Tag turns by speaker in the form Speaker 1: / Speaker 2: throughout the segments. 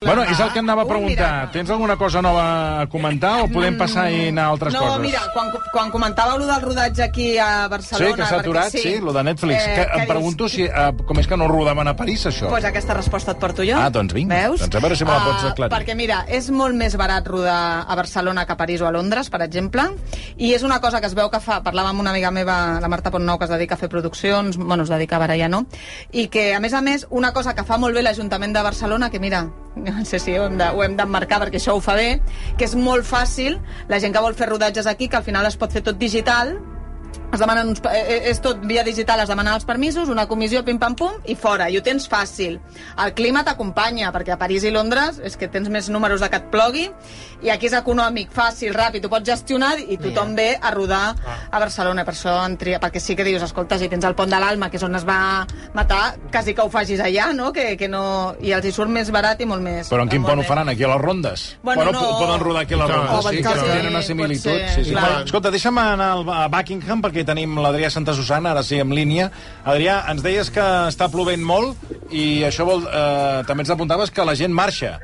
Speaker 1: Bueno, és el que anava
Speaker 2: Oh,
Speaker 1: a preguntar. Tens alguna cosa nova a comentar o podem passar i anar a altres
Speaker 2: Mm. no,
Speaker 1: coses?
Speaker 2: mira, quan, quan comentava lo del rodatge aquí a Barcelona...
Speaker 1: Sí, que s'ha
Speaker 2: perquè
Speaker 1: aturat, sí, lo de Netflix. Eh, que em
Speaker 2: dius?
Speaker 1: pregunto si, eh, com és que no rodaven a París, això?
Speaker 2: Doncs pues aquesta resposta et porto jo.
Speaker 1: Ah, doncs vinga.
Speaker 2: Veus?
Speaker 1: Doncs a veure si me la
Speaker 2: Ah,
Speaker 1: pots aclarir.
Speaker 2: Perquè, mira, és molt més barat rodar a Barcelona que a París o a Londres, per exemple, i és una cosa que es veu que fa... Parlava amb una amiga meva, la Marta Pontnou, que es dedica a fer produccions, bueno, es dedica a ja no? I que, a més a més, una cosa que fa molt bé l'Ajuntament de Barcelona, que mira, no sé si ho hem de- ho hem d'emmarcar perquè això ho fa bé, que és molt fàcil, la gent que vol fer rodatges aquí, que al final es pot fer tot digital, es demanen uns, pa- eh, eh, és tot via digital, es demanen els permisos, una comissió, pim-pam-pum, i fora, i ho tens fàcil. El clima t'acompanya, perquè a París i Londres és que tens més números de que et plogui, i aquí és econòmic, fàcil, ràpid, ho pots gestionar, i tothom ve a rodar
Speaker 3: Ah.
Speaker 2: a Barcelona, per això en tria, perquè sí que dius, escolta, si tens el Pont de l'Alma, que és on es va matar, quasi que ho facis allà, no? Que, que no... I els hi surt més barat i molt més.
Speaker 1: Però en quin
Speaker 2: molt
Speaker 1: pont ho
Speaker 2: bé.
Speaker 1: faran? Aquí a les rondes?
Speaker 2: Bueno,
Speaker 1: bueno
Speaker 2: no.
Speaker 1: po- poden rodar aquí a les
Speaker 4: Clar,
Speaker 1: rondes, sí,
Speaker 2: sí,
Speaker 1: que
Speaker 2: sí,
Speaker 1: tenen una
Speaker 2: pot
Speaker 1: similitud.
Speaker 2: ser,
Speaker 1: Sí, sí.
Speaker 2: clar.
Speaker 1: Escolta, deixa'm anar al- a Buckingham, perquè tenim l'Adrià Santa Susana, ara sí, en línia. Adrià, ens deies que està plovent molt i això vol... Eh, també ens apuntaves que la gent marxa.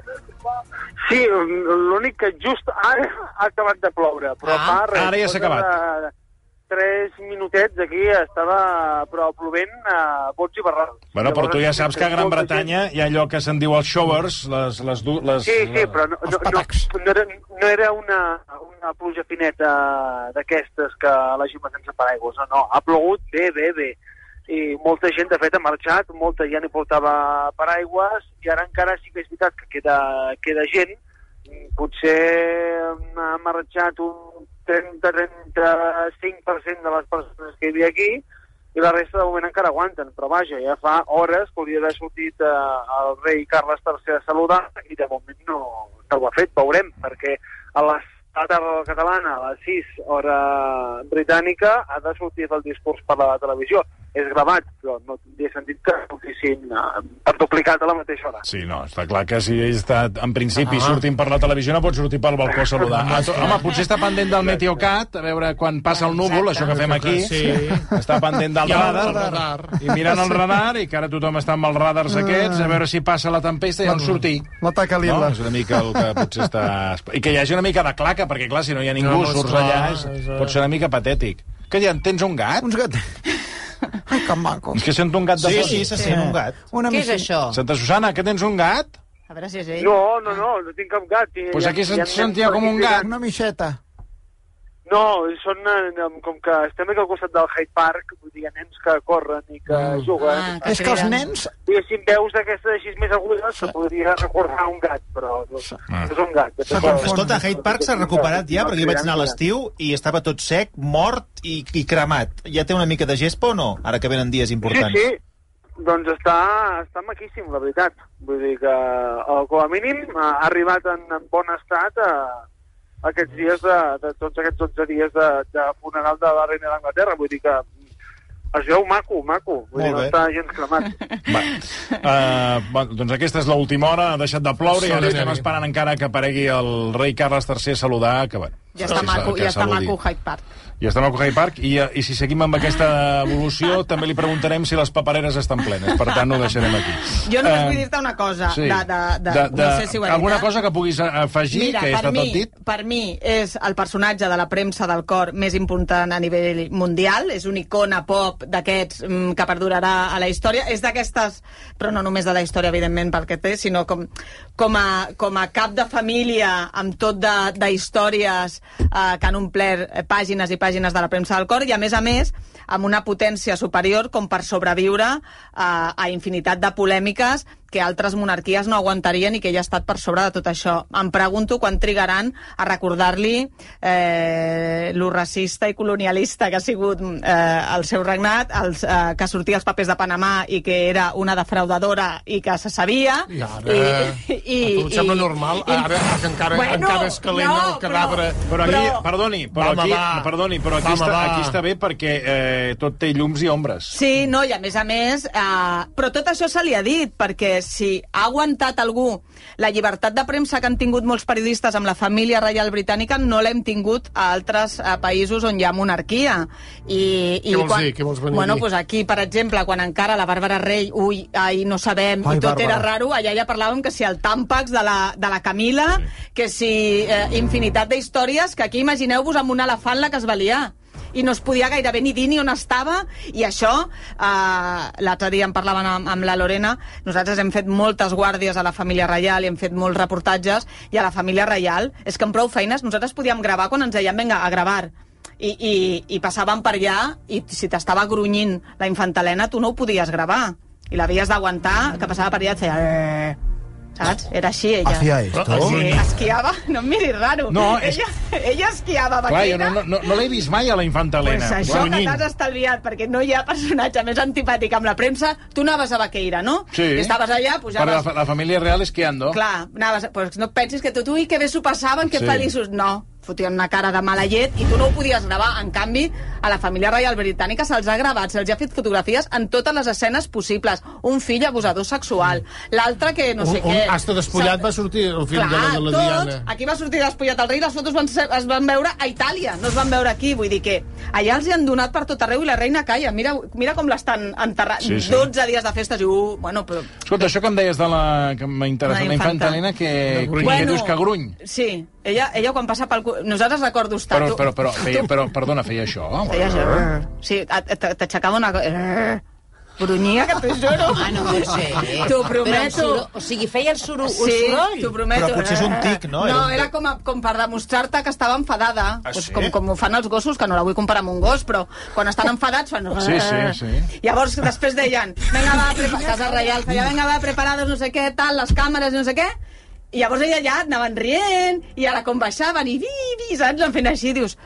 Speaker 5: Sí, l'únic que just ara ha acabat de ploure, però
Speaker 1: Ah,
Speaker 5: ah, fa res,
Speaker 1: ara ja s'ha
Speaker 5: cosa
Speaker 1: acabat.
Speaker 5: de Tres minutets aquí estava, però plovent a bots i barrals.
Speaker 1: Bueno, però tu ja
Speaker 5: Llavors, eh,
Speaker 1: saps que a Gran
Speaker 5: molta
Speaker 1: Bretanya hi ha allò que se'n diu els showers, les... les, du- les
Speaker 5: Sí, sí, però no, no, no, no, era, no era una, una pluja fineta d'aquestes que la gent va sense paraigües, no, no, ha plogut bé, bé, bé. I molta gent, de fet, ha marxat, molta ja n'hi portava paraigües, i ara encara sí que és veritat que queda, queda gent, Mm, potser ha marxat un 30-35% de les persones que hi havia aquí, i la resta de moment encara aguanten, però vaja, ja fa hores que hauria d'haver sortit eh, el rei Carles III a saludar i de moment no, no ho ha fet, veurem, perquè a la a la tarda catalana, a les 6 hora britànica, ha de sortir el discurs per la televisió. És gravat, però no tindria sentit que sortissin eh, per duplicat a la mateixa hora.
Speaker 1: Sí, no, està clar que si ell està, en principi, ah. sortint per la televisió, no pot sortir pel balcó a saludar. Ah, to, home, potser està pendent del Meteocat, a veure quan passa el núvol, això que fem aquí.
Speaker 4: Sí.
Speaker 1: Està pendent del
Speaker 4: I el
Speaker 1: radar,
Speaker 4: radar. Ah.
Speaker 1: I mirant el radar, i que ara tothom està amb els radars aquests, a veure si passa la tempesta i on sortir.
Speaker 6: L'ataca
Speaker 1: No?
Speaker 6: lila.
Speaker 1: És una mica el que potser està... I que hi hagi una mica de claca, perquè clar, si no hi ha ningú,
Speaker 4: No,
Speaker 1: no,
Speaker 4: no,
Speaker 1: surts
Speaker 4: esclar,
Speaker 1: allà, és,
Speaker 4: és, eh.
Speaker 1: pot ser una mica patètic. Que ja en tens un gat?
Speaker 6: Uns gat... Ai, que maco.
Speaker 1: És que sento un gat de fons.
Speaker 4: sent un gat.
Speaker 6: Una
Speaker 3: Què és
Speaker 6: mica-
Speaker 3: això?
Speaker 1: Santa Susana, que tens un gat?
Speaker 2: A veure si és ell.
Speaker 5: No, no, no, no tinc cap gat. Doncs
Speaker 1: Pues aquí se'n sentia com un gat.
Speaker 6: Una mixeta.
Speaker 5: No, són eh, com que estem aquí al costat del Hyde Park, vull dir, hi ha nens que corren i que
Speaker 6: Ah.
Speaker 5: juguen.
Speaker 3: Ah,
Speaker 6: És que els
Speaker 3: criden.
Speaker 6: nens...
Speaker 5: Diguéssim, veus d'aquestes així més agudes que podria recordar un gat, però no,
Speaker 1: Ah.
Speaker 5: és un gat.
Speaker 6: S'ha
Speaker 5: Però-
Speaker 6: confós.
Speaker 4: Escolta, Hyde Park s'ha recuperat ja, perquè jo vaig anar a l'estiu i estava tot sec, mort i, i cremat. Ja té una mica de gespa o no? Ara que venen dies
Speaker 5: Sí,
Speaker 4: importants.
Speaker 5: sí, doncs està, està maquíssim, la veritat. Vull dir que, eh, com a mínim, eh, ha arribat en, en bon estat a, aquests dies de, de tots aquests 12 dies de, de funeral de la reina d'Anglaterra. Vull dir que es veu maco, maco. Vull dir,
Speaker 4: Molt
Speaker 5: no
Speaker 4: bé.
Speaker 5: està gens cremat.
Speaker 1: Va. Uh, bueno, doncs aquesta és l'última hora, ha deixat de ploure i ara
Speaker 4: Solidari.
Speaker 1: estem esperant encara que aparegui el rei Carles III a saludar, que bueno...
Speaker 2: Ja està
Speaker 1: sí,
Speaker 2: maco,
Speaker 1: que
Speaker 2: ja està
Speaker 1: saludi.
Speaker 2: maco Hyde Park.
Speaker 1: I estem al Cogai Park, i, eh, i si seguim amb aquesta evolució, també li preguntarem si les papereres estan plenes. Per tant, ho deixarem aquí.
Speaker 2: Jo només
Speaker 1: Eh,
Speaker 2: vull dir-te una cosa. Sí. De, de, de,
Speaker 1: De- de-
Speaker 2: no sé si ho he dit,
Speaker 1: alguna
Speaker 2: eh?
Speaker 1: cosa que puguis eh, afegir,
Speaker 2: Mira,
Speaker 1: que ja
Speaker 2: per
Speaker 1: està
Speaker 2: mi,
Speaker 1: tot dit?
Speaker 2: per mi és el personatge de la premsa del cor més important a nivell mundial, és una icona pop d'aquests mm, que perdurarà a la història, és d'aquestes, però no només de la història, evidentment, pel que té, sinó com, com, a, com a cap de família amb tot de, de històries eh, que han omplert eh, pàgines i pàgines de la premsa del cor, i a més a més amb una potència superior com per sobreviure eh, a infinitat de polèmiques que altres monarquies no aguantarien i que ella ha estat per sobre de tot això. Em pregunto quan trigaran a recordar-li eh, lo racista i colonialista que ha sigut eh, el seu regnat, els, eh, que sortia als papers de Panamà i que era una defraudadora i que se sabia.
Speaker 7: I ara... I, a tu et sembla normal? Ara, que encara, bueno, encara és calent no, el cadàver...
Speaker 1: Però aquí, però... perdoni, però
Speaker 7: Vam,
Speaker 1: aquí,
Speaker 7: va.
Speaker 1: perdoni, però aquí,
Speaker 7: Vam,
Speaker 1: està,
Speaker 7: va.
Speaker 1: aquí està bé perquè eh, tot té llums i ombres.
Speaker 2: Sí, no, i a més a més... Eh, però tot això se li ha dit, perquè és si ha aguantat algú la llibertat de premsa que han tingut molts periodistes amb la família reial britànica, no l'hem tingut a altres eh, països on hi ha monarquia. I, i
Speaker 7: Què vols dir? Què vols venir a
Speaker 2: bueno,
Speaker 7: dir?
Speaker 2: doncs aquí, per exemple, quan encara la Bàrbara Rei, ui, ai, no sabem, i
Speaker 4: Ai,
Speaker 2: tot
Speaker 4: Bàrbara.
Speaker 2: era raro, allà ja parlàvem que si el tàmpax de la, de la Camila, que si eh, infinitat d'històries, que aquí imagineu-vos amb un elefant la que es va liar i no es podia gairebé ni dir ni on estava i això, eh, l'altre dia en parlaven amb, amb la Lorena nosaltres hem fet moltes guàrdies a la família reial i hem fet molts reportatges i a la família reial, és que amb prou feines nosaltres podíem gravar quan ens deien vinga, a gravar i, i, i passaven per allà i si t'estava grunyint la infantalena tu no ho podies gravar i l'havies d'aguantar, que passava per allà i et feia... "Eh", Saps? Era així, ella.
Speaker 3: Hacía esto.
Speaker 2: Sí, esquiava, no em miris raro.
Speaker 1: No, és-
Speaker 2: ella, ella esquiava,
Speaker 1: Clar, jo
Speaker 2: vaquera.
Speaker 1: no, no, no l'he vist mai a la Infantalena.
Speaker 2: Pues això que t'has estalviat, perquè no hi ha personatge més antipàtic amb la premsa. Tu anaves a Vaqueira, no?
Speaker 1: Sí.
Speaker 2: I estaves
Speaker 1: Però la,
Speaker 2: allà, pujaves...
Speaker 1: fa- la família real
Speaker 7: Oh.
Speaker 1: esquiando.
Speaker 2: Clar, anaves... a- Pues no et pensis que tot, ui, que bé s'ho passaven, que
Speaker 1: Sí.
Speaker 2: sí. feliços. No, fotien una cara de mala llet i tu no ho podies gravar. En canvi, a la família reial britànica se'ls ha gravat, se'ls ha fet fotografies en totes les escenes possibles. Un fill abusador sexual, l'altre que no
Speaker 7: un,
Speaker 2: sé
Speaker 7: un
Speaker 2: què...
Speaker 7: hasta despullat va sortir el film de la,
Speaker 2: Clar,
Speaker 7: de la
Speaker 2: tots,
Speaker 3: Ah,
Speaker 7: Diana.
Speaker 2: aquí va sortir despullat el rei, les fotos van ser, es van veure a Itàlia, no es van veure aquí, vull dir que allà els hi han donat per tot arreu i la reina calla, mira, mira com l'estan enterrant,
Speaker 1: Sí,
Speaker 2: sí,
Speaker 1: sí.
Speaker 2: sí. 12 dies de festes i uh, bueno, però...
Speaker 1: Escolta, això que em deies de la... que m'interessa,
Speaker 2: La
Speaker 1: la Infantalena,
Speaker 2: Infantalena,
Speaker 1: que, que,
Speaker 7: gruny.
Speaker 1: que dius que gruny.
Speaker 2: Sí, ella, ella quan passa pel... cu- Nosaltres recordo estar...
Speaker 1: Però,
Speaker 2: tu-
Speaker 1: però, però, feia,
Speaker 2: tu-
Speaker 1: però, perdona, feia això.
Speaker 2: Feia
Speaker 4: eh?
Speaker 2: això. Sí, a- a- t- t'aixecava una... co- eh, Grunyia, que t'ho juro.
Speaker 8: Ah, no ho sé.
Speaker 2: T'ho
Speaker 8: Però el
Speaker 2: prometo.
Speaker 8: soro- O sigui, feia el soro, un
Speaker 2: Sí,
Speaker 8: soroll.
Speaker 2: t'ho prometo.
Speaker 4: Però potser és un tic, no? Era
Speaker 2: No,
Speaker 4: un-
Speaker 2: era com, a, com per demostrar-te que estava enfadada.
Speaker 4: Ah,
Speaker 2: Doncs
Speaker 4: sí?
Speaker 2: com, com ho fan els gossos, que no la vull comparar amb un gos, però quan estan enfadats fan...
Speaker 1: Sí, sí, sí.
Speaker 2: Llavors després deien, vinga, va, prepa... Casa Reial, feia, vinga, va, preparados, no sé què, tal, les càmeres, no sé què... I llavors ella ja anaven rient, i ara com baixaven, i vi, vi, saps? L'han fent així, dius...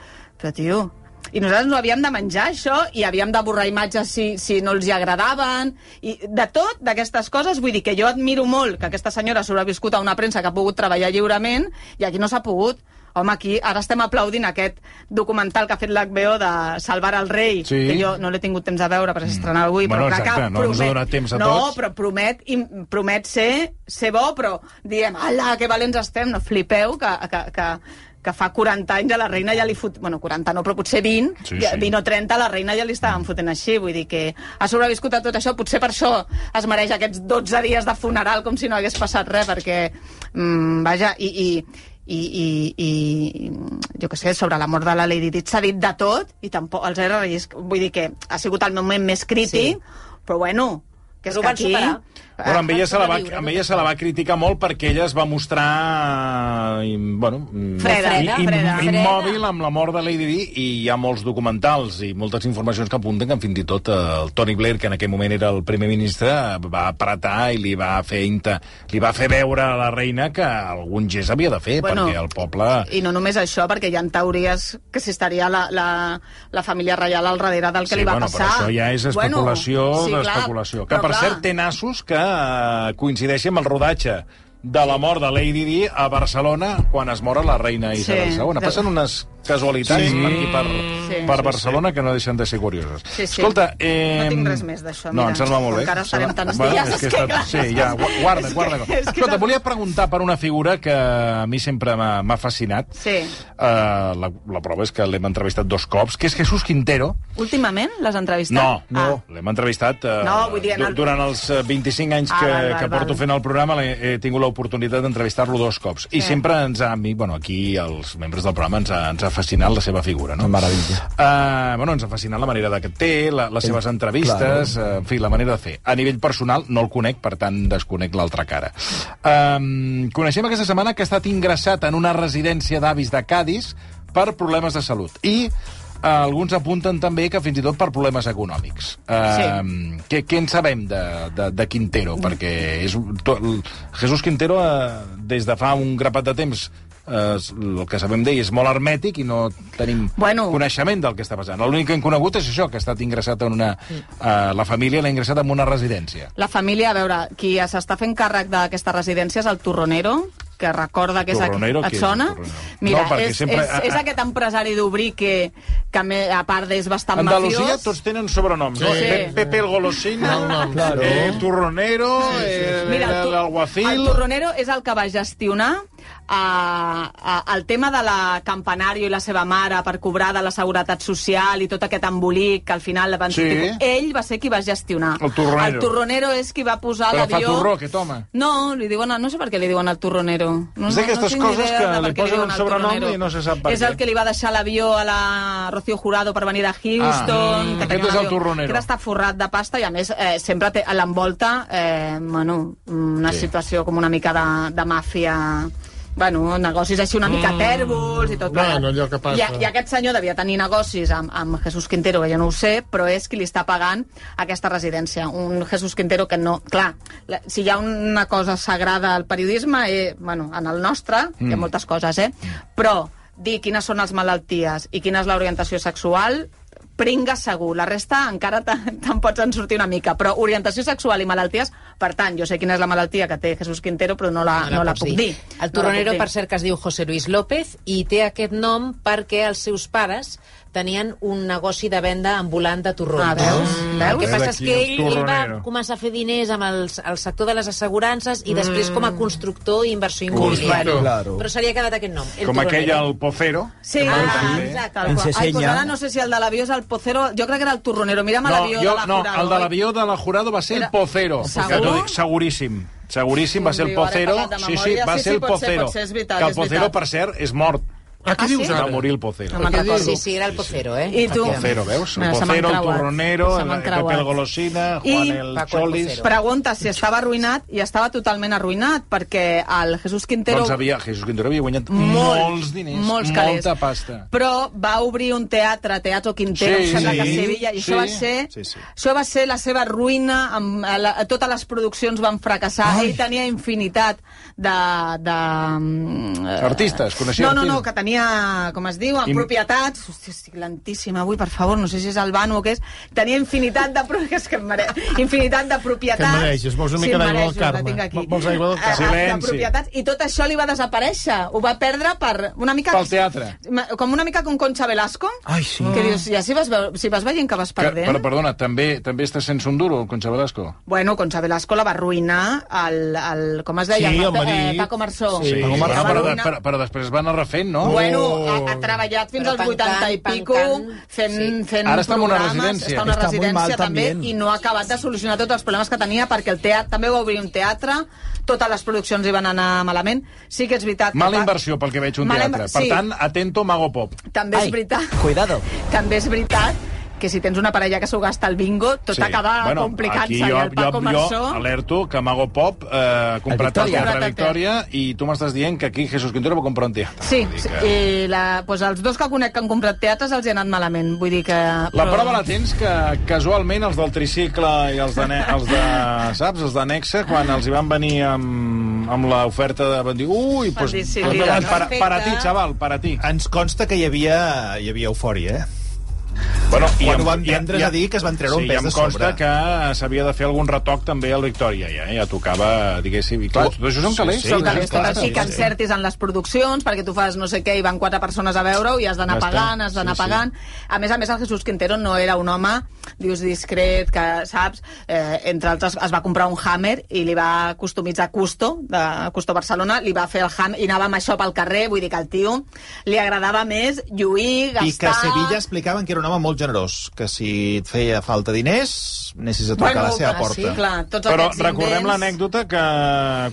Speaker 2: Però, tio, i nosaltres no havíem de menjar això i havíem de borrar imatges si, si no els hi agradaven i de tot, d'aquestes coses vull dir que jo admiro molt que aquesta senyora ha sobreviscut a una premsa que ha pogut treballar lliurement i aquí no s'ha pogut Home, aquí ara estem aplaudint aquest documental que ha fet l'HBO de Salvar el rei,
Speaker 1: Sí.
Speaker 2: que jo no l'he tingut temps de veure perquè s'estrenava avui,
Speaker 1: Mm. Bueno,
Speaker 2: però
Speaker 1: exacte,
Speaker 2: que
Speaker 1: no ens ha donat temps a
Speaker 2: no,
Speaker 1: tots.
Speaker 2: però promet, im- promet ser, ser bo, però diem, ala, que valents estem, no flipeu, que, que, que, que fa 40 anys a la reina ja li fot... Bueno, 40 no, però potser 20,
Speaker 1: Sí,
Speaker 2: sí, sí.
Speaker 1: sí.
Speaker 2: 20 o 30 a la reina ja li estaven fotent així, vull dir que ha sobreviscut a tot això, potser per això es mereix aquests 12 dies de funeral com si no hagués passat res, perquè, mm, vaja, i... i i, i, i jo que sé, sobre la mort de la Lady Di s'ha dit de tot i tampoc els era risc. Vull dir que ha sigut el moment més crític, sí. però bueno, que és
Speaker 8: Però ho
Speaker 2: que
Speaker 8: van
Speaker 2: aquí... eh,
Speaker 8: superar.
Speaker 1: Bueno, amb ella, se la va,
Speaker 8: sobreviure,
Speaker 1: amb
Speaker 8: no?
Speaker 1: ella se la va criticar molt perquè ella es va mostrar i, bueno, mm,
Speaker 2: Freda,
Speaker 1: i, i,
Speaker 2: freda.
Speaker 1: immòbil amb la mort de Lady Di i hi ha molts documentals i moltes informacions que apunten que fins i tot eh, el Tony Blair, que en aquell moment era el primer ministre, va apretar i li va fer inta, li va fer veure a la reina que algun gest havia de fer
Speaker 2: Bueno,
Speaker 1: perquè el poble...
Speaker 2: I no només això, perquè hi ha teories que si estaria la, la, la família reial al darrere del que
Speaker 1: Sí,
Speaker 2: li va
Speaker 1: bueno,
Speaker 2: passar.
Speaker 1: Però això ja és especulació
Speaker 2: bueno,
Speaker 1: bueno,
Speaker 2: clar,
Speaker 1: d'especulació. Que,
Speaker 2: però
Speaker 1: per
Speaker 2: clar,
Speaker 1: cert, té nassos que eh, coincideixen amb el rodatge de la mort de Lady Di a Barcelona quan es mor la reina
Speaker 2: Sí.
Speaker 1: Isabel II. Passen unes casualitats
Speaker 4: Sí.
Speaker 1: per aquí, per, sí.
Speaker 2: Sí.
Speaker 1: per
Speaker 2: Sí,
Speaker 1: Barcelona, que no deixen de ser curioses.
Speaker 2: Sí, sí.
Speaker 1: Escolta, eh...
Speaker 2: No tinc res més d'això,
Speaker 1: No,
Speaker 2: mira.
Speaker 1: em sembla molt bé.
Speaker 2: Encara estarem
Speaker 1: Em sembla-
Speaker 2: tants
Speaker 1: Bueno, és
Speaker 2: dies,
Speaker 1: que
Speaker 2: és que
Speaker 1: està-
Speaker 2: clar,
Speaker 1: Sí, ja, gu- guarda,
Speaker 2: és que-
Speaker 1: guarda.
Speaker 2: és que
Speaker 1: Escolta,
Speaker 2: no-
Speaker 1: volia preguntar per una figura que a mi sempre m'ha m'ha fascinat.
Speaker 2: Sí.
Speaker 1: Eh, la, la prova és que l'hem entrevistat dos cops, que és Jesús Quintero,
Speaker 2: Últimament les entrevistes?
Speaker 1: No, no.
Speaker 2: Ah.
Speaker 1: Ah. L'hem entrevistat eh,
Speaker 2: No, vull dir, en
Speaker 1: du-
Speaker 2: el-
Speaker 1: durant els eh, 25 anys
Speaker 2: Ah,
Speaker 1: que,
Speaker 2: val, val,
Speaker 1: que porto
Speaker 2: val.
Speaker 1: fent el programa l'he- he tingut l'oportunitat d'entrevistar-lo dos cops. I sempre ens ha... a mi, Bueno, aquí els membres del programa ens ha, ens ha fascinat la seva figura, no?
Speaker 3: Maravilla.
Speaker 1: Uh, bueno, ens ha fascinat la manera de que té, la, les seves entrevistes, claro. uh, en fi, la manera de fer. A nivell personal no el conec, per tant desconec l'altra cara. Um, coneixem aquesta setmana que ha estat ingressat en una residència d'avis de Cádiz per problemes de salut. I uh, alguns apunten també que fins i tot per problemes econòmics. Uh, sí. què, què en sabem de, de, de Quintero? Perquè és, un- to, el, Jesús Quintero, uh, des de fa un grapat de temps, eh, el que sabem d'ell és molt hermètic i no tenim
Speaker 2: Bueno.
Speaker 1: coneixement del que està passant. L'únic que hem conegut és això, que ha estat ingressat en una... Eh, la família l'ha ingressat en una residència.
Speaker 2: La família, a veure, qui s'està fent càrrec d'aquesta residència és el Torronero, que recorda que és aquest,
Speaker 1: Torronero,
Speaker 2: et
Speaker 1: qui és
Speaker 2: sona?
Speaker 1: el Torronero?
Speaker 2: Mira,
Speaker 1: No, perquè
Speaker 2: és,
Speaker 1: sempre-
Speaker 2: és, és aquest empresari d'obrir que, que a, me, a part és bastant
Speaker 1: Andalusia
Speaker 2: mafiós.
Speaker 1: tots tenen sobrenoms, no?
Speaker 7: Sí.
Speaker 1: Pe- Pepe el Golosina,
Speaker 7: Mal nom.
Speaker 1: claro. eh, Turronero, eh,
Speaker 2: Mira, tu- el
Speaker 1: l'Alguacil...
Speaker 2: Torronero és el que va gestionar a, a, el tema de la Campanario i la seva mare per cobrar de la Seguretat Social i tot aquest embolic que al final van
Speaker 1: Sí.
Speaker 2: sortir- Ell va ser qui va gestionar.
Speaker 1: El Torronero.
Speaker 2: El Torronero és qui va posar
Speaker 1: Però fa
Speaker 2: l'avió...
Speaker 1: torró, aquest home.
Speaker 2: No, li diuen, no sé per què li diuen el Torronero.
Speaker 1: És
Speaker 2: No, no-
Speaker 1: d'aquestes
Speaker 2: no tinc
Speaker 1: coses
Speaker 2: idea
Speaker 1: que
Speaker 2: de per
Speaker 1: li
Speaker 2: què
Speaker 1: posen
Speaker 2: diuen
Speaker 1: un
Speaker 2: el
Speaker 1: sobrenom
Speaker 2: Torronero.
Speaker 1: i no se sap per
Speaker 2: És
Speaker 1: què.
Speaker 2: el que li va deixar l'avió a la Rocío Jurado per venir a Houston.
Speaker 1: Ah,
Speaker 2: que
Speaker 1: aquest
Speaker 2: tenia un
Speaker 1: és el
Speaker 2: avió
Speaker 1: Torronero.
Speaker 2: Que era està forrat de pasta i a més eh, sempre té- l'envolta eh, bueno, una
Speaker 1: Sí.
Speaker 2: sí. situació com una mica de, de màfia bueno, negocis així una mica tèrbols i tot
Speaker 7: Mm. Bueno,
Speaker 2: plegat.
Speaker 7: allò que passa.
Speaker 2: I, a- I aquest senyor devia tenir negocis amb, amb Jesús Quintero, que jo no ho sé, però és qui li està pagant aquesta residència. Un Jesús Quintero que no... Clar, la, si hi ha una cosa sagrada al periodisme, eh, bueno, en el nostre, mm. hi ha moltes coses, eh? Però dir quines són les malalties i quina és l'orientació sexual pringa segur. La resta encara te- te'n pots en sortir una mica. Però orientació sexual i malalties, per tant, jo sé quina és la malaltia que té Jesús Quintero, però no la, no la,
Speaker 8: pots
Speaker 2: puc dir.
Speaker 8: Ah, doncs El
Speaker 2: No la
Speaker 8: torronero,
Speaker 2: puc dir.
Speaker 8: per cert, que es diu José Luis López i té aquest nom perquè els seus pares tenien un negoci de venda ambulant de torrons.
Speaker 2: Ah, veus?
Speaker 8: El que
Speaker 1: veus?
Speaker 8: passa és
Speaker 1: Aquí
Speaker 8: que
Speaker 1: el
Speaker 8: ell, ell va
Speaker 1: torronero.
Speaker 8: començar a fer diners amb el, el sector de les assegurances i després com a
Speaker 2: Mm.
Speaker 8: constructor i inversor
Speaker 7: Constructor.
Speaker 8: immobiliari.
Speaker 3: Claro.
Speaker 8: Però se li ha quedat aquest nom. El
Speaker 1: Com aquell,
Speaker 8: torronero.
Speaker 1: el Pocero.
Speaker 2: Sí,
Speaker 1: que va
Speaker 2: ah,
Speaker 1: decidir-
Speaker 2: exacte. tal
Speaker 3: En
Speaker 2: qual. Ai, doncs
Speaker 3: Sesenya.
Speaker 2: ara no sé si el de l'avió és el pocero, jo crec que era el torronero. Mira'm
Speaker 1: No,
Speaker 2: l'avió de
Speaker 1: jo,
Speaker 2: la
Speaker 1: no,
Speaker 2: Jurado,
Speaker 1: el de
Speaker 2: oi?
Speaker 1: l'avió de la Jurado va ser el
Speaker 2: Era-
Speaker 1: Pocero.
Speaker 2: Segur?
Speaker 1: Que t'ho dic, Seguríssim. Seguríssim, va ser el
Speaker 2: Diu, ara he
Speaker 1: Pocero.
Speaker 2: parlat de
Speaker 1: Sí, sí,
Speaker 2: memòria.
Speaker 1: va
Speaker 2: Sí,
Speaker 1: ser
Speaker 2: sí,
Speaker 1: el
Speaker 2: pot ser,
Speaker 1: Pocero.
Speaker 2: pot ser, és veritat,
Speaker 1: Que el
Speaker 2: és
Speaker 1: Pocero,
Speaker 2: veritat.
Speaker 1: per cert, és mort.
Speaker 7: Ah, què
Speaker 2: Ah, sí?
Speaker 7: dius
Speaker 1: Va
Speaker 7: ara?
Speaker 1: morir el Pocero.
Speaker 2: No me'n recordo.
Speaker 8: Sí, sí, era el pocero, eh?
Speaker 2: I tu?
Speaker 1: El Pocero, veus? El
Speaker 2: Mira, se m'han
Speaker 1: Pocero, el
Speaker 2: creuat.
Speaker 1: Torronero,
Speaker 2: Se
Speaker 1: el
Speaker 2: m'han
Speaker 1: Pepe el
Speaker 2: creuat.
Speaker 1: Golosina,
Speaker 2: I-
Speaker 1: Juan el
Speaker 8: Paco el
Speaker 1: Solis...
Speaker 8: Pocero.
Speaker 2: Pregunta si estava arruïnat i estava totalment arruïnat perquè el Jesús Quintero
Speaker 1: Doncs havia, Jesús Quintero havia guanyat molts diners,
Speaker 2: molts calés.
Speaker 1: molta pasta.
Speaker 2: Però va obrir un teatre, Teatro Quintero,
Speaker 1: Sí,
Speaker 2: sí, em sembla
Speaker 1: sí,
Speaker 2: sí, que a Sevilla, i
Speaker 1: sí,
Speaker 2: això va ser,
Speaker 1: sí, sí.
Speaker 2: això va ser la seva ruïna, amb, eh, la, totes les produccions van fracassar, Ai. ell tenia infinitat de... de mm, eh,
Speaker 1: Artistes, coneixia
Speaker 2: No, no, no,
Speaker 1: artistes.
Speaker 2: que tenia, com es diu, en
Speaker 1: Im-
Speaker 2: propietats... Hòstia, estic lentíssima avui, per favor, no sé si és Albano o què és. Tenia infinitat de... pro- És que em mare... infinitat de propietats.
Speaker 7: Que em mereixes, vols una mica
Speaker 2: em
Speaker 7: d'aigua
Speaker 2: mereixo,
Speaker 7: del Carme.
Speaker 2: la tinc aquí.
Speaker 7: Vols aigua del Carme?
Speaker 2: Eh, de
Speaker 1: Silenci.
Speaker 2: propietats, I tot això li va desaparèixer. Ho va perdre per una mica...
Speaker 1: Pel teatre.
Speaker 2: Ma- Com una mica com Concha Velasco.
Speaker 3: Ai, sí.
Speaker 2: Que dius, ja si vas, veu- si vas veient que vas
Speaker 1: Que,
Speaker 2: perdent...
Speaker 1: però, perdona, també també està sense un duro, el Concha Velasco.
Speaker 2: Bueno, Concha Velasco la va arruïnar el, el com es deia?
Speaker 7: Sí, el
Speaker 2: Ma-
Speaker 7: marit.
Speaker 2: eh, Paco Marsó.
Speaker 7: Sí, Paco Marsó.
Speaker 2: La va
Speaker 1: Però, però,
Speaker 2: arruïnar.
Speaker 1: però, però després van anar refent, no?
Speaker 2: Bueno, ha, ha treballat fins
Speaker 8: Però
Speaker 2: als
Speaker 8: tancant,
Speaker 2: 80 i
Speaker 8: tancant.
Speaker 2: pico, fent,
Speaker 8: Sí.
Speaker 2: fent
Speaker 1: Ara està en una
Speaker 2: programes,
Speaker 1: residència.
Speaker 2: Està en una
Speaker 3: Està molt
Speaker 2: residència
Speaker 3: mal,
Speaker 2: també,
Speaker 3: també.
Speaker 2: i no ha acabat de solucionar tots els problemes que tenia, perquè el teatre també va obrir un teatre, totes les produccions hi van anar malament. Sí que és veritat... que
Speaker 1: Mala
Speaker 2: va-
Speaker 1: inversió pel que veig un
Speaker 2: Mala
Speaker 1: teatre.
Speaker 2: inver-
Speaker 1: Per
Speaker 2: sí.
Speaker 1: tant, atento, Mago Pop.
Speaker 2: També és veritat.
Speaker 3: Cuidado.
Speaker 2: També és veritat que si tens una parella que s'ho gasta el bingo, tot acaba
Speaker 1: bueno,
Speaker 2: complicant-se.
Speaker 1: aquí
Speaker 2: I
Speaker 1: Jo,
Speaker 2: el Paco
Speaker 1: jo,
Speaker 2: Marsó...
Speaker 1: jo alerto que Mago Pop eh, ha comprat el
Speaker 3: Victòria.
Speaker 1: teatre
Speaker 2: Comprat el
Speaker 1: Victòria i tu m'estàs dient que aquí Jesús Quintero va comprar un teatre.
Speaker 2: Sí,
Speaker 1: Vull dir
Speaker 2: sí
Speaker 1: que-
Speaker 2: i la, doncs els dos que conec que han comprat teatres els hi ha anat malament. Vull dir que...
Speaker 1: La prova la tens que casualment els del tricicle i els de, ne- els de saps, els de Nexa, quan els hi van venir amb, amb l'oferta de... Van dir, ui, pues,
Speaker 2: dir, sí,
Speaker 1: pues,
Speaker 2: mira,
Speaker 1: doncs,
Speaker 2: no?
Speaker 1: per, per a ti,
Speaker 2: Perfecte.
Speaker 1: xaval, per a ti.
Speaker 4: Ens consta que hi havia, hi havia eufòria, eh?
Speaker 1: Bueno,
Speaker 4: Quan
Speaker 1: em-
Speaker 4: ho van vendre's a dir que es van treure
Speaker 1: sí,
Speaker 4: un pes
Speaker 1: ja em
Speaker 4: de
Speaker 1: consta
Speaker 4: sobre.
Speaker 1: que eh, s'havia de fer algun retoc també al Victòria, ja, eh? ja tocava, diguéssim, i clar, tot això són
Speaker 4: Sí,
Speaker 1: calés.
Speaker 4: sí,
Speaker 1: són
Speaker 4: clar,
Speaker 1: calés,
Speaker 2: Calés, tot
Speaker 1: clar,
Speaker 2: així
Speaker 1: sí,
Speaker 2: que
Speaker 1: sí.
Speaker 2: encertis en les produccions, perquè tu fas no sé què i van quatre persones a veure-ho i has d'anar
Speaker 1: Ja està,
Speaker 2: pagant, has d'anar
Speaker 1: sí, sí.
Speaker 2: pagant. A més a més, el Jesús Quintero no era un home, dius, discret, que, saps, eh, entre altres, es va comprar un Hammer i li va customitzar Custo, de Custo Barcelona, li va fer el Hammer i anava amb això pel carrer, vull dir que al tio li agradava més lluir, gastar...
Speaker 4: I que a Sevilla explicaven que era un home molt generós, que si et feia falta diners, anessis a tocar
Speaker 2: Bueno,
Speaker 4: a la seva
Speaker 2: ah,
Speaker 4: porta.
Speaker 2: Sí, clar, tots
Speaker 1: Però
Speaker 2: aquests
Speaker 1: recordem
Speaker 2: invents-
Speaker 1: l'anècdota que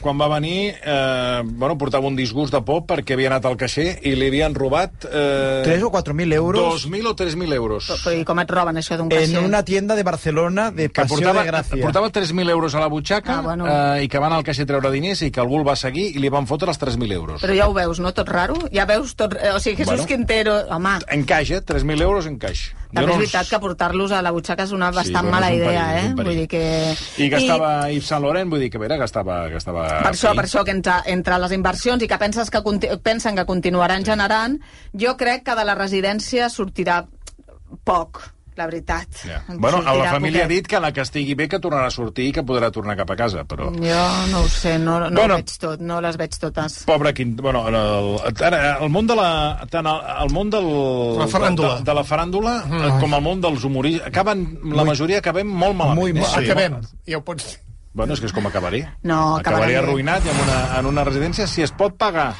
Speaker 1: quan va venir eh, bueno, portava un disgust de por perquè havia anat al caixer i li havien robat eh,
Speaker 3: 3 o 4 mil euros
Speaker 1: 2.000 o 3.000 euros.
Speaker 2: Però, però, I com et roben això d'un
Speaker 3: en
Speaker 2: caixer?
Speaker 3: una tienda de Barcelona de
Speaker 1: que
Speaker 3: Paseo
Speaker 1: portava,
Speaker 3: de Gracia.
Speaker 1: portava 3.000 euros a la butxaca
Speaker 2: Ah, bueno.
Speaker 1: eh, i que van al caixer a treure diners i que algú el va seguir i li van fotre els 3.000 euros.
Speaker 2: Però ja ho veus, no? Tot raro? Ja veus tot... eh, O sigui, Jesús
Speaker 1: Bueno.
Speaker 2: bueno. Quintero... Home,
Speaker 1: En caixa, 3.000 euros en caixa.
Speaker 2: també
Speaker 1: Jo
Speaker 2: és
Speaker 1: no
Speaker 2: veritat que portar-los a la butxaca és una bastant
Speaker 1: bueno,
Speaker 2: mala
Speaker 1: és un
Speaker 2: idea,
Speaker 1: perill, és un
Speaker 2: eh?
Speaker 1: perill.
Speaker 2: Vull dir que...
Speaker 1: I gastava I... Yves Saint Laurent, vull dir que a veure, gastava... gastava
Speaker 2: Per això,
Speaker 1: fi.
Speaker 2: per això que entre, entre les inversions i que penses que conti- pensen que continuaran generant, jo crec que de la residència sortirà poc. la veritat.
Speaker 1: Ja.
Speaker 2: En
Speaker 1: Bueno, a la
Speaker 2: sortirà
Speaker 1: família ha
Speaker 2: poquet.
Speaker 1: dit que la que estigui bé que tornarà a sortir i que podrà tornar cap a casa, però...
Speaker 2: Jo no ho sé, no, no
Speaker 1: Bueno.
Speaker 2: bueno. ho veig tot, no les veig totes.
Speaker 1: Pobre Quint... Bueno, el, tant el món de la... Tant el, el món del...
Speaker 7: La faràndula.
Speaker 1: De, de la faràndula, mm.
Speaker 7: Ai.
Speaker 1: com el món dels humoristes, acaben... La majoria acabem molt malament.
Speaker 3: Muy mal.
Speaker 1: eh?
Speaker 7: Acabem. Ja ho pots...
Speaker 1: Bueno, és que és com acabaré.
Speaker 2: No, acabarà
Speaker 1: acabaré
Speaker 2: bé.
Speaker 1: arruïnat i en una, en una residència, si es pot pagar.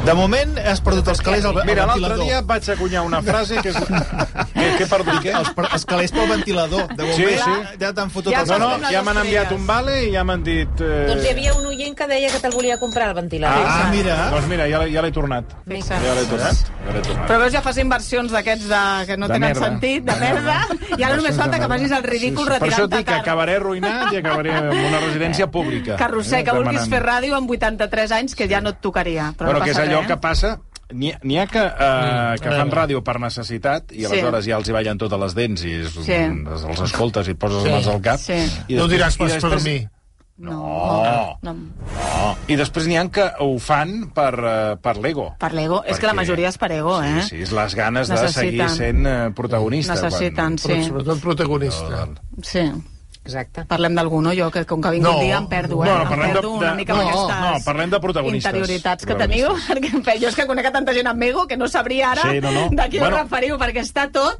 Speaker 4: De moment has perdut els calés al, al
Speaker 1: Mira, l'altre
Speaker 4: ventilador.
Speaker 1: dia vaig acunyar una frase que és... que, que he perdut, què?
Speaker 4: Eh, Els, per, els calés pel ventilador. De moment
Speaker 1: Sí,
Speaker 4: sí,
Speaker 1: sí.
Speaker 4: sí. ja t'han fotut
Speaker 2: Ja
Speaker 4: ja,
Speaker 1: No, no,
Speaker 2: les
Speaker 1: ja m'han enviat
Speaker 2: estrelles.
Speaker 1: un vale i ja m'han dit... Eh...
Speaker 8: Doncs hi havia un oient que deia que te'l volia comprar, el ventilador.
Speaker 4: Ah, mira.
Speaker 1: Doncs mira, ja, l'he- ja l'he tornat.
Speaker 2: Fixa't.
Speaker 1: Ja l'he tornat. Ja l'he tornat.
Speaker 2: Però veus, ja fas inversions d'aquests de- que no
Speaker 1: De
Speaker 2: tenen
Speaker 1: merda.
Speaker 2: sentit, de merda, i ara només falta que vagis al ridícul
Speaker 1: Per això et
Speaker 2: retirant-te
Speaker 1: dic que
Speaker 2: tard.
Speaker 1: acabaré arruïnat i acabaré en una residència pública. eh,
Speaker 2: Que Roser, que vulguis
Speaker 1: Demanant.
Speaker 2: fer ràdio amb 83 anys, que ja no et tocaria. Però
Speaker 1: Però
Speaker 2: no
Speaker 1: que és
Speaker 2: passa
Speaker 1: allò
Speaker 2: res. eh? Mm,
Speaker 1: que passa... N'hi ha- n'hi ha que, eh, que
Speaker 7: a
Speaker 1: fan
Speaker 7: veure.
Speaker 1: ràdio per necessitat i
Speaker 2: Sí.
Speaker 1: aleshores ja els hi ballen totes les dents i es,
Speaker 2: Sí.
Speaker 1: els escoltes i et poses
Speaker 7: Sí.
Speaker 1: les mans al cap.
Speaker 2: Sí.
Speaker 1: I
Speaker 7: No diràs
Speaker 1: i
Speaker 7: pas per
Speaker 1: després-
Speaker 7: mi.
Speaker 1: No.
Speaker 2: no. no.
Speaker 1: No. I després n'hi ha que ho fan per, eh, per l'ego.
Speaker 2: Per l'ego. És que la majoria és per ego, eh?
Speaker 1: Sí, sí, és les ganes de seguir
Speaker 2: Necessiten.
Speaker 1: sent eh, protagonista.
Speaker 2: Necessiten,
Speaker 7: Però,
Speaker 2: sí.
Speaker 7: sobretot protagonista.
Speaker 1: Quan...
Speaker 2: sí.
Speaker 8: Exacte.
Speaker 2: Parlem d'algú, no? Jo, que com que vinc
Speaker 7: No.
Speaker 2: un dia em perdo, eh?
Speaker 1: No, no,
Speaker 2: em
Speaker 1: parlem de-
Speaker 2: perdo una
Speaker 1: de-
Speaker 2: mica amb
Speaker 1: no,
Speaker 2: aquestes
Speaker 1: no, parlem de protagonistes.
Speaker 2: interioritats que teniu.
Speaker 1: Protagonistes.
Speaker 2: Perquè em fe- jo és que conec a tanta gent amb ego que no sabria ara
Speaker 1: Sí, no, no.
Speaker 2: de qui
Speaker 1: Bueno.
Speaker 2: us referiu, perquè està tot...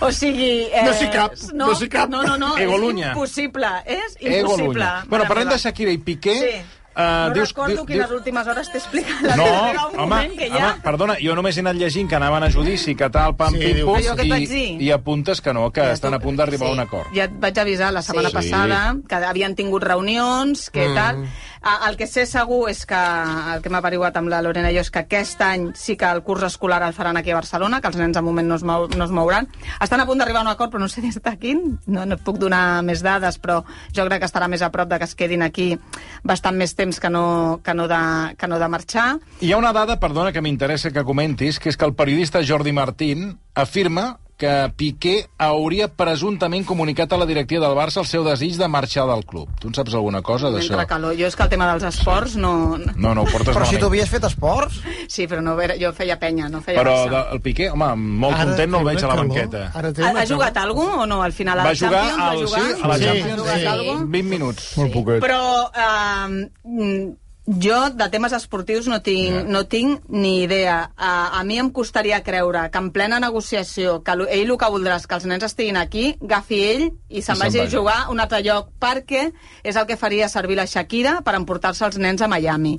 Speaker 2: O sigui... Eh,
Speaker 7: No s'hi cap,
Speaker 2: No,
Speaker 7: no s'hi cap.
Speaker 2: No, no, no,
Speaker 1: Egolunya.
Speaker 2: és impossible. És
Speaker 1: Ego
Speaker 2: impossible.
Speaker 1: Lunya.
Speaker 2: mare
Speaker 1: Bueno, parlem
Speaker 2: meva.
Speaker 1: de Shakira i Piqué.
Speaker 2: Sí.
Speaker 1: Eh,
Speaker 2: no
Speaker 1: dius-
Speaker 2: recordo
Speaker 1: diu-
Speaker 2: quines
Speaker 1: diu-
Speaker 2: últimes hores t'he explicat la
Speaker 1: No,
Speaker 2: teva, era un
Speaker 1: home,
Speaker 2: moment que ja...
Speaker 1: home, perdona, jo només he anat llegint que anaven a judici, que tal, pam,
Speaker 7: Sí,
Speaker 1: pim,
Speaker 7: diu-
Speaker 1: pum,
Speaker 2: Allò que et vaig
Speaker 1: i,
Speaker 2: dir.
Speaker 1: i apuntes que no, que
Speaker 2: Ja,
Speaker 1: estan
Speaker 2: tu-
Speaker 1: a punt d'arribar a
Speaker 8: sí.
Speaker 1: un acord.
Speaker 2: Ja et vaig avisar la setmana
Speaker 8: Sí.
Speaker 2: passada que havien tingut reunions, que mm. tal. Ah, El que sé segur és que, el que m'ha averiguat amb la Lorena i jo, és que aquest any sí que el curs escolar el faran aquí a Barcelona, que els nens de moment no es, mou, no es mouran. Estan a punt d'arribar a un acord, però no sé des de quin. No, no et puc donar més dades, però jo crec que estarà més a prop de que es quedin aquí bastant més temps que no, que no, de, que no de marxar.
Speaker 1: Hi ha una dada, perdona, que m'interessa que comentis, que és que el periodista Jordi Martín afirma que Piqué hauria presumptament comunicat a la directiva del Barça el seu desig de marxar del club. Tu en saps alguna cosa d'això?
Speaker 2: Mentre calor. Jo és que el tema dels esports no...
Speaker 1: No, no, ho portes
Speaker 3: Però si
Speaker 1: malament.
Speaker 3: tu havies fet esports...
Speaker 2: Sí, però no, era- jo feia penya, no feia
Speaker 1: Però
Speaker 2: Barça.
Speaker 1: de, el Piqué, home, molt
Speaker 7: Ara
Speaker 1: content no el
Speaker 7: té
Speaker 1: veig
Speaker 7: una
Speaker 1: a la
Speaker 7: calor.
Speaker 1: banqueta.
Speaker 7: Ara té
Speaker 2: Ha,
Speaker 7: una
Speaker 2: ha jugat
Speaker 7: calor.
Speaker 2: algú o no al final? A la
Speaker 1: Va jugar,
Speaker 2: Champions,
Speaker 1: al,
Speaker 2: va
Speaker 1: sí,
Speaker 2: jugar?
Speaker 1: a la
Speaker 7: Sí,
Speaker 1: Champions.
Speaker 7: sí.
Speaker 1: Sí. 20 minuts.
Speaker 3: Molt poquet.
Speaker 2: Però eh, jo de temes esportius no tinc,
Speaker 1: Ja.
Speaker 2: no tinc ni idea. A, a mi em costaria creure que en plena negociació, que lo- ell el que voldrà és que els nens estiguin aquí, agafi ell i se'n
Speaker 1: se'n
Speaker 2: vagi a
Speaker 1: vagi.
Speaker 2: jugar a un altre lloc, perquè és el que faria servir la Shakira per emportar-se els nens a Miami.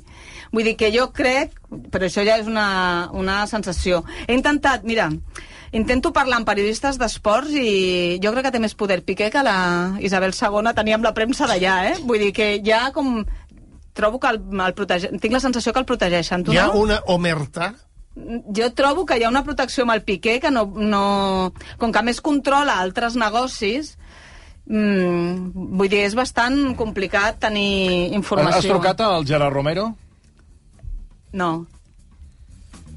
Speaker 2: Vull dir que jo crec, però això ja és una, una sensació. He intentat, mira, intento parlar amb periodistes d'esports i jo crec que té més poder Piqué que la Isabel II tenia amb la premsa d'allà, eh? Vull dir que ja com... Trobo que el, el protege... Tinc la sensació que el protegeixen. Tu
Speaker 7: Hi ha
Speaker 2: no?
Speaker 7: una omerta
Speaker 2: jo trobo que hi ha una protecció amb el Piqué que no... no com que a més controla altres negocis, mm, vull dir, és bastant complicat tenir informació.
Speaker 1: Has trucat al Gerard Romero?
Speaker 2: No.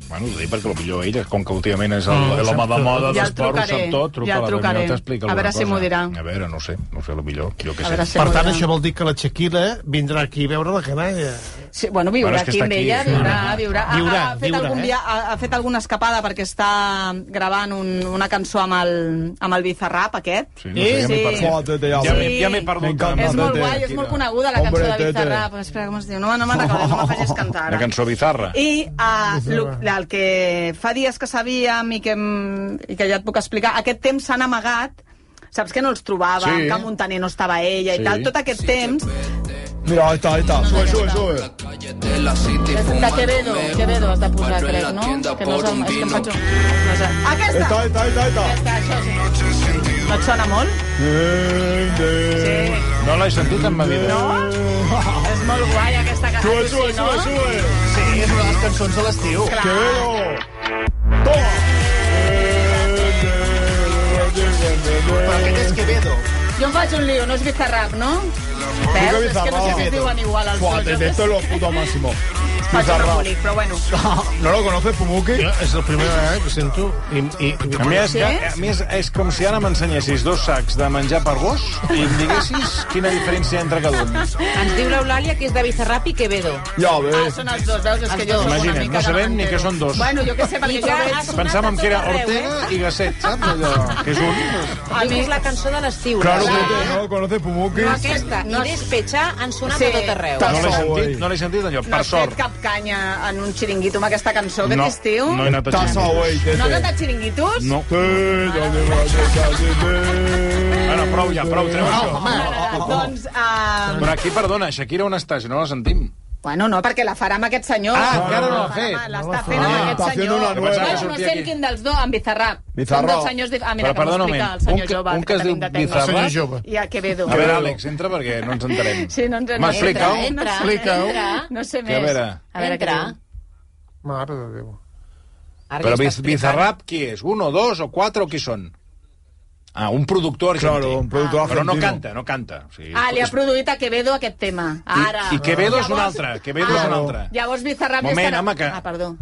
Speaker 1: Bueno, ho dic perquè potser ell, com que últimament és
Speaker 3: Ah,
Speaker 1: el-
Speaker 7: Mm,
Speaker 1: l'home
Speaker 7: sap
Speaker 1: de
Speaker 7: tot.
Speaker 1: moda
Speaker 2: Ja el
Speaker 1: d'esport, ho
Speaker 2: trucaré,
Speaker 1: sap tot, truca
Speaker 2: ja
Speaker 1: a
Speaker 2: el
Speaker 1: la
Speaker 2: trucaré.
Speaker 1: Damià, t'explica
Speaker 2: A
Speaker 1: alguna
Speaker 2: veure si
Speaker 1: cosa.
Speaker 2: m'ho dirà.
Speaker 1: A veure, no ho sé, no ho sé, potser, jo què
Speaker 2: A
Speaker 1: sé.
Speaker 2: veure si
Speaker 7: Per
Speaker 2: m'ho
Speaker 7: tant,
Speaker 2: diran.
Speaker 7: això vol dir que la Shakira vindrà aquí a veure la canalla.
Speaker 2: Sí, bueno, viurà
Speaker 1: Bueno, és que
Speaker 2: aquí
Speaker 1: està
Speaker 2: amb
Speaker 1: aquí,
Speaker 2: ella,
Speaker 1: sí.
Speaker 2: viurà, viurà. Ha,
Speaker 7: Viurà,
Speaker 2: ha, fet
Speaker 7: viurà,
Speaker 2: algun
Speaker 7: eh?
Speaker 2: via, ha, ha fet alguna escapada perquè està gravant un, una cançó amb el, amb el Bizarrap aquest.
Speaker 1: Sí, no sé, ja
Speaker 2: Sí.
Speaker 1: m'he perdut.
Speaker 3: Fótete,
Speaker 1: Ja m'he-
Speaker 2: Sí.
Speaker 1: ja m'he perdut.
Speaker 3: M'encanta.
Speaker 2: És
Speaker 1: també.
Speaker 2: molt
Speaker 3: Tete,
Speaker 2: guai, és
Speaker 1: Shakira.
Speaker 2: molt coneguda la
Speaker 3: Hombre,
Speaker 2: cançó de
Speaker 3: tete.
Speaker 2: Bizarrap. Espera, com es diu? No, me- no me'n recordo, no me facis cantar
Speaker 1: Una
Speaker 2: ara.
Speaker 1: cançó bizarra.
Speaker 2: I uh, lo, el que fa dies que sabíem i que, em- i que ja et puc explicar, aquest temps s'han amagat Saps que no els trobava,
Speaker 1: Sí.
Speaker 2: que Montaner no estava ella
Speaker 1: Sí.
Speaker 2: i tal, tot aquest temps...
Speaker 3: Mira, ahí está, ahí está.
Speaker 2: Sube, sube,
Speaker 3: sube.
Speaker 8: És de Quevedo, Quevedo has de posar, crec, no? Que no és el... És que em faig un...
Speaker 2: No sé. Aquesta!
Speaker 3: Está, ahí está, ahí está, ahí está.
Speaker 2: Aquesta, això sí. No et sona molt? Sí.
Speaker 1: No l'he sentit en ma vida.
Speaker 2: És molt guai aquesta cançó.
Speaker 3: Sube, sube,
Speaker 2: no?
Speaker 3: sube, sube.
Speaker 4: Sí, és una de les cançons de l'estiu.
Speaker 2: Clar.
Speaker 3: ¡Que veo! ¡Toma!
Speaker 4: Però aquest és Quevedo.
Speaker 2: Jo em faig un lío, no és Bizarrap, no? Veus? És que no sé si es diuen igual els dos.
Speaker 3: Buah,
Speaker 2: jo
Speaker 3: desde
Speaker 2: què
Speaker 3: esto
Speaker 2: sé.
Speaker 3: es lo puto máximo.
Speaker 2: Faig un embolic, però bueno.
Speaker 9: ¿No lo conoces, Pumuki?
Speaker 7: Jo, és la primera vegada que sento... I, i,
Speaker 1: A mi, és,
Speaker 2: Sí?
Speaker 1: que, a mi és, és com si ara m'ensenyessis dos sacs de menjar per gos i em diguessis quina diferència hi ha entre cada un.
Speaker 8: Ens diu l'Eulàlia que és de Bizarrap i Quevedo.
Speaker 9: Ja ho
Speaker 2: Ah,
Speaker 9: ves.
Speaker 2: són els dos, veus? És que
Speaker 8: Els
Speaker 2: jo
Speaker 8: dos.
Speaker 2: sóc una
Speaker 1: Imagina't, Eh,
Speaker 2: mica
Speaker 1: no sabem ni
Speaker 2: davantero.
Speaker 1: què són dos.
Speaker 2: Bueno, jo què sé, perquè
Speaker 8: I
Speaker 2: jo
Speaker 8: que ha
Speaker 2: veig...
Speaker 8: sonat
Speaker 1: Pensàvem
Speaker 8: a
Speaker 1: que era
Speaker 8: tot arreu,
Speaker 1: Ortega
Speaker 2: eh?
Speaker 1: i Gasset, saps? Allò, que és un...
Speaker 8: Eh? Diu que és la cançó de l'estiu.
Speaker 9: Claro
Speaker 8: la-
Speaker 9: que no lo conoces, Pumuki.
Speaker 8: No, aquesta i Despechar han sonat
Speaker 2: Sí.
Speaker 8: a tot arreu.
Speaker 1: No l'he
Speaker 9: Sou,
Speaker 1: sentit,
Speaker 9: ei.
Speaker 1: no l'he sentit allò,
Speaker 2: No
Speaker 1: per
Speaker 2: has fet
Speaker 1: sort.
Speaker 2: cap canya en un xiringuito amb aquesta cançó aquest
Speaker 1: No,
Speaker 2: estiu?
Speaker 1: no he anat a
Speaker 9: Estás
Speaker 1: Xingu.
Speaker 9: away,
Speaker 2: No has anat
Speaker 9: tete.
Speaker 2: a xiringuitos?
Speaker 1: No.
Speaker 9: Sí, dónde vas, tete.
Speaker 1: Bueno, prou ja, prou, treu això.
Speaker 2: M'agrada. Doncs... Uh...
Speaker 1: Però aquí, perdona, Shakira on està? Si no la sentim.
Speaker 2: Bueno, no, perquè la farà amb aquest senyor.
Speaker 1: Ah, encara no
Speaker 2: la
Speaker 1: l'ha
Speaker 2: farà
Speaker 1: fet.
Speaker 2: amb- L'està
Speaker 9: Ah,
Speaker 2: fent amb aquest
Speaker 9: està fent
Speaker 2: senyor.
Speaker 9: una nueva.
Speaker 1: Pensava que
Speaker 2: Bueno, no
Speaker 1: sortia
Speaker 2: sé
Speaker 1: aquí.
Speaker 2: en quin dels dos, amb Bizarrap.
Speaker 9: Bizarrap.
Speaker 2: Són dos senyors... dif- Ah, mira,
Speaker 1: Però
Speaker 2: que m'ho
Speaker 1: perdona un
Speaker 2: explica
Speaker 1: moment.
Speaker 2: el senyor
Speaker 1: Un que-
Speaker 2: Jove,
Speaker 1: un que es diu
Speaker 2: tenim de tècnic.
Speaker 1: Bizarrap.
Speaker 7: Senyor jove.
Speaker 2: I a Quevedo.
Speaker 1: A veure, Àlex, entra perquè no ens entenem.
Speaker 2: Sí, no ens en
Speaker 1: M'explica-ho?
Speaker 2: Entra, entra,
Speaker 7: Explica-ho.
Speaker 2: entra. No sé
Speaker 1: Que
Speaker 2: més.
Speaker 1: a veure.
Speaker 2: A veure
Speaker 8: Entra.
Speaker 2: què diu.
Speaker 7: Mare de Déu.
Speaker 8: Ara
Speaker 1: Però
Speaker 8: ja
Speaker 1: Biz-
Speaker 8: està
Speaker 1: Bizarrap qui és? Un o dos o quatre o qui són? Ah, un productor argentí.
Speaker 9: Claro, un productor
Speaker 1: Però no
Speaker 9: argentino.
Speaker 1: canta, no canta. O sigui,
Speaker 2: Ah, li ha
Speaker 1: és-
Speaker 2: produït a Quevedo aquest tema. Ara.
Speaker 1: I Quevedo és un
Speaker 2: Llavors-
Speaker 1: altre, Quevedo és un altre.
Speaker 2: Llavors Bizarrap...
Speaker 1: Moment,
Speaker 2: estarà-
Speaker 1: home, que-
Speaker 2: Ah, perdó.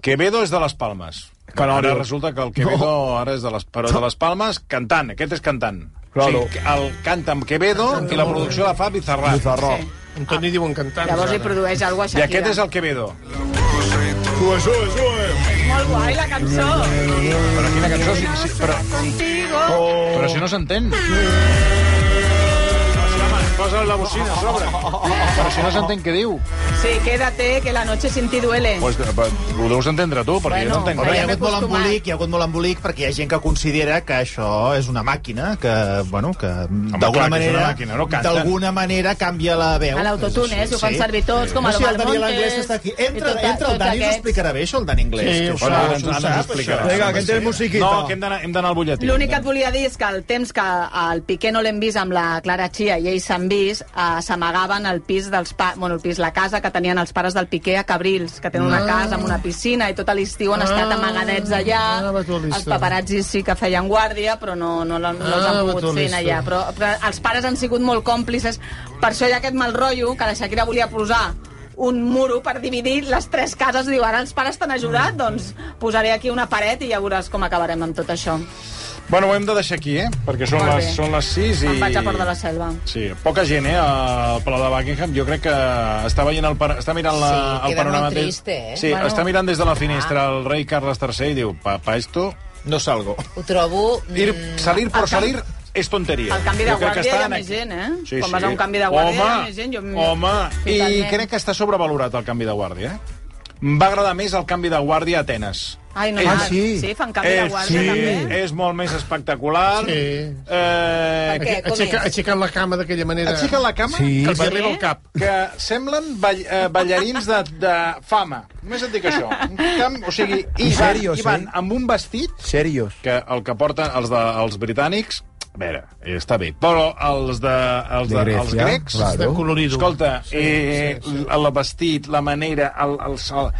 Speaker 1: Quevedo és de les Palmes.
Speaker 9: Canàries.
Speaker 1: Ara resulta que el Quevedo no. ara és de les, però de les Palmes cantant, aquest és cantant.
Speaker 9: Claro.
Speaker 1: O sigui, el canta amb Quevedo i la producció la fa Bizarrap.
Speaker 9: Bizarro.
Speaker 2: Sí.
Speaker 7: En Toni diu encantant.
Speaker 2: Llavors li produeix alguna cosa
Speaker 1: I
Speaker 2: a Shakira.
Speaker 1: aquest és el Quevedo.
Speaker 9: Sube, sube, sube.
Speaker 2: Molt guai, la cançó.
Speaker 1: Però quina cançó... Sí, sí, però,
Speaker 2: Contigo. Ah.
Speaker 1: però si no s'entén. Posa la bocina a sobre. Però si no s'entén què diu.
Speaker 2: Sí, quédate, que la noche sin ti duele.
Speaker 1: Pues, eh, ho deus entendre tu, perquè jo no
Speaker 2: Bueno,
Speaker 1: entenc
Speaker 2: bueno.
Speaker 1: res.
Speaker 4: Hi ha hagut molt
Speaker 2: acostumat.
Speaker 4: embolic, hi ha hagut molt embolic perquè hi ha gent que considera que això és una màquina, que, bueno, que
Speaker 1: clar
Speaker 4: d'alguna
Speaker 1: que és una
Speaker 4: manera,
Speaker 1: màquina, no canten.
Speaker 4: d'alguna manera canvia la veu.
Speaker 2: A l'autotune, eh? Si ho fan servir tots, com a
Speaker 4: No, si el
Speaker 2: Lomal
Speaker 4: Daniel
Speaker 2: Montes,
Speaker 4: Anglès està aquí. Entra,
Speaker 2: i tota-
Speaker 4: entra el
Speaker 2: tots
Speaker 4: Dani, ens ho
Speaker 2: aquests.
Speaker 4: explicarà bé, això, el Dani Anglés.
Speaker 7: Sí,
Speaker 4: que
Speaker 7: ho
Speaker 4: sap,
Speaker 1: Bueno, ara ens,
Speaker 4: ho
Speaker 1: ara ens
Speaker 4: sap,
Speaker 1: ho explicarà.
Speaker 4: això.
Speaker 9: Vinga, que té musiquita.
Speaker 1: No, que hem d'anar hem d'anar al butlletí.
Speaker 2: L'únic que et volia dir és que el temps que el Piqué no l'hem vist amb la Clara Chia i ells s'han vist, eh, s'amagaven al pis dels pa... bueno, el pis, la casa que tenien els pares del Piqué a Cabrils, que tenen una casa amb una piscina i tot l'estiu han estat
Speaker 7: Ah.
Speaker 2: amagadets allà.
Speaker 7: Ara va tu al
Speaker 2: Els
Speaker 7: listo.
Speaker 2: paparazzis sí que feien guàrdia, però no, no, l'han- no els
Speaker 7: Ara
Speaker 2: han
Speaker 7: va tu
Speaker 2: pogut
Speaker 7: al
Speaker 2: fer anar
Speaker 7: listo.
Speaker 2: allà. Però, però els pares han sigut molt còmplices. Per això hi ha aquest mal rotllo que la Shakira volia posar un muro per dividir les tres cases. Diu, ara els pares t'han ajudat, doncs posaré aquí una paret i ja veuràs com acabarem amb tot això.
Speaker 1: Bueno, ho hem de deixar aquí, eh? Perquè són,
Speaker 2: Molt
Speaker 1: les,
Speaker 2: bé.
Speaker 1: són les 6 i...
Speaker 2: Em vaig a Port de la Selva.
Speaker 1: Sí, poca gent, eh, al Palau de Buckingham. Jo crec que està, veient el, par- està mirant la,
Speaker 8: Sí,
Speaker 1: el
Speaker 8: queda
Speaker 1: panorama...
Speaker 8: molt trist, eh?
Speaker 1: Sí,
Speaker 2: Bueno. Ah.
Speaker 1: està mirant des de la finestra el rei Carles III i diu, pa, pa esto,
Speaker 4: No salgo.
Speaker 8: Ho trobo... mm,
Speaker 1: ir, salir por
Speaker 2: el canvi-
Speaker 1: salir és tonteria.
Speaker 2: Al canvi de
Speaker 1: Jo crec que
Speaker 2: guàrdia hi ha
Speaker 1: estan
Speaker 2: més
Speaker 1: aquí.
Speaker 2: gent, eh? Quan vas a un canvi de guàrdia hi ha més gent, jo-
Speaker 1: Home, i
Speaker 2: Totalment.
Speaker 1: crec que està sobrevalorat el canvi de guàrdia, eh? Em va agradar més el canvi de guàrdia a Atenes.
Speaker 2: Ai, no,
Speaker 1: Eh,
Speaker 2: ah,
Speaker 9: sí.
Speaker 2: sí, fan canvi de
Speaker 1: Eh,
Speaker 2: guàrdia,
Speaker 1: sí,
Speaker 2: també. Ah,
Speaker 1: és molt més espectacular.
Speaker 7: Sí.
Speaker 1: Eh,
Speaker 8: Per què? Com
Speaker 7: Aixeca,
Speaker 8: és?
Speaker 7: aixequen la cama d'aquella manera.
Speaker 1: Aixequen la cama
Speaker 9: Sí.
Speaker 7: Que els hi arriba al cap.
Speaker 1: que semblen ball, eh, ballarins de, de fama. Només et dic això. Un Camp, o sigui, i
Speaker 9: En
Speaker 1: van,
Speaker 9: serio,
Speaker 1: i van
Speaker 9: sí?
Speaker 1: amb un vestit
Speaker 9: Serios.
Speaker 1: que el que porten els, de, els britànics, a veure, està bé, però els, de, els, de, els grecs...
Speaker 7: De colorido.
Speaker 1: Escolta, eh, el vestit, la manera, el, els, el,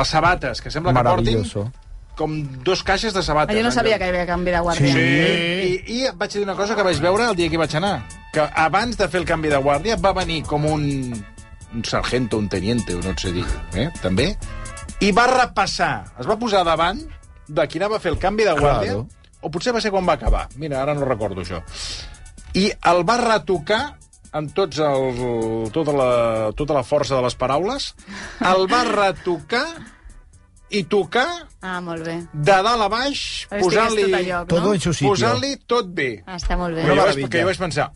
Speaker 1: les sabates, que sembla que portin
Speaker 9: Maravilloso.
Speaker 1: com dos caixes de
Speaker 2: Ah,
Speaker 1: sabates.
Speaker 2: jo no sabia que hi havia canvi de
Speaker 1: Sí.
Speaker 2: guàrdia.
Speaker 1: I,
Speaker 7: Sí.
Speaker 1: I et vaig dir una cosa que vaig veure el dia que hi vaig anar. Que abans de fer el canvi de guàrdia va venir com un, un sargento, un teniente, o no et sé dir, eh? també, i va repassar, es va posar davant de qui anava a fer el canvi de guàrdia,
Speaker 9: Claro.
Speaker 1: o potser va ser quan va acabar. Mira, ara no recordo això. I el va retocar amb tots el, tota, la, tota la força de les paraules, el va retocar i tocar
Speaker 2: Ah, molt bé.
Speaker 1: de dalt a baix,
Speaker 2: Estigués
Speaker 1: posant-li
Speaker 2: tot a lloc,
Speaker 9: Todo
Speaker 2: no?
Speaker 9: en su sitio.
Speaker 1: posant-li tot bé.
Speaker 2: Ah, està molt bé.
Speaker 1: Però jo vaig,
Speaker 9: Meravella.
Speaker 1: que jo vaig pensar...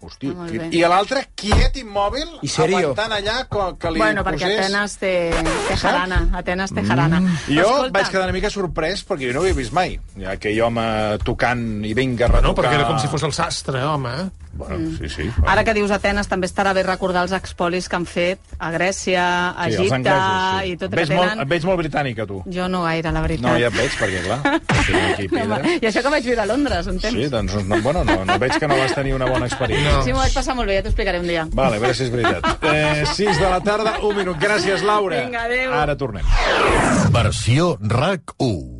Speaker 1: Hosti,
Speaker 2: Ah, molt
Speaker 1: qui-
Speaker 2: bé.
Speaker 1: i a l'altre, quiet, immòbil,
Speaker 9: I serio.
Speaker 1: aguantant allà co- que li
Speaker 2: Bueno, perquè
Speaker 1: posés...
Speaker 2: Atenes té, té jarana. Atenes té jarana.
Speaker 1: Mm. Jo
Speaker 2: Escolta,
Speaker 1: vaig quedar una mica sorprès perquè jo no ho havia vist mai. Ja, aquell home tocant i vinga a retocar...
Speaker 7: No, perquè era com si fos el sastre, home. eh?
Speaker 1: Bueno, sí, sí.
Speaker 2: Mm. Ara que dius Atenes, també estarà bé recordar els expolis que han fet a Grècia, a
Speaker 1: Sí, els
Speaker 2: Egipte
Speaker 1: anglesos,
Speaker 2: i tot
Speaker 1: Et
Speaker 2: que
Speaker 1: veig molt,
Speaker 2: tenen...
Speaker 1: et veig molt britànica, tu.
Speaker 2: Jo no gaire, la veritat.
Speaker 1: No, ja et veig, perquè, clar, tenim aquí
Speaker 2: No, home,
Speaker 1: pedra.
Speaker 2: I això que vaig viure a Londres, un temps.
Speaker 1: Sí, doncs, no, bueno, no, no veig que no vas tenir una bona experiència.
Speaker 7: No.
Speaker 2: Sí, m'ho vaig passar molt bé, ja t'ho explicaré un dia.
Speaker 1: Vale, a veure si és veritat. Eh, 6 de la tarda, un minut. Gràcies, Laura.
Speaker 2: Vinga, adéu.
Speaker 1: Ara tornem.
Speaker 10: Versió RAC 1.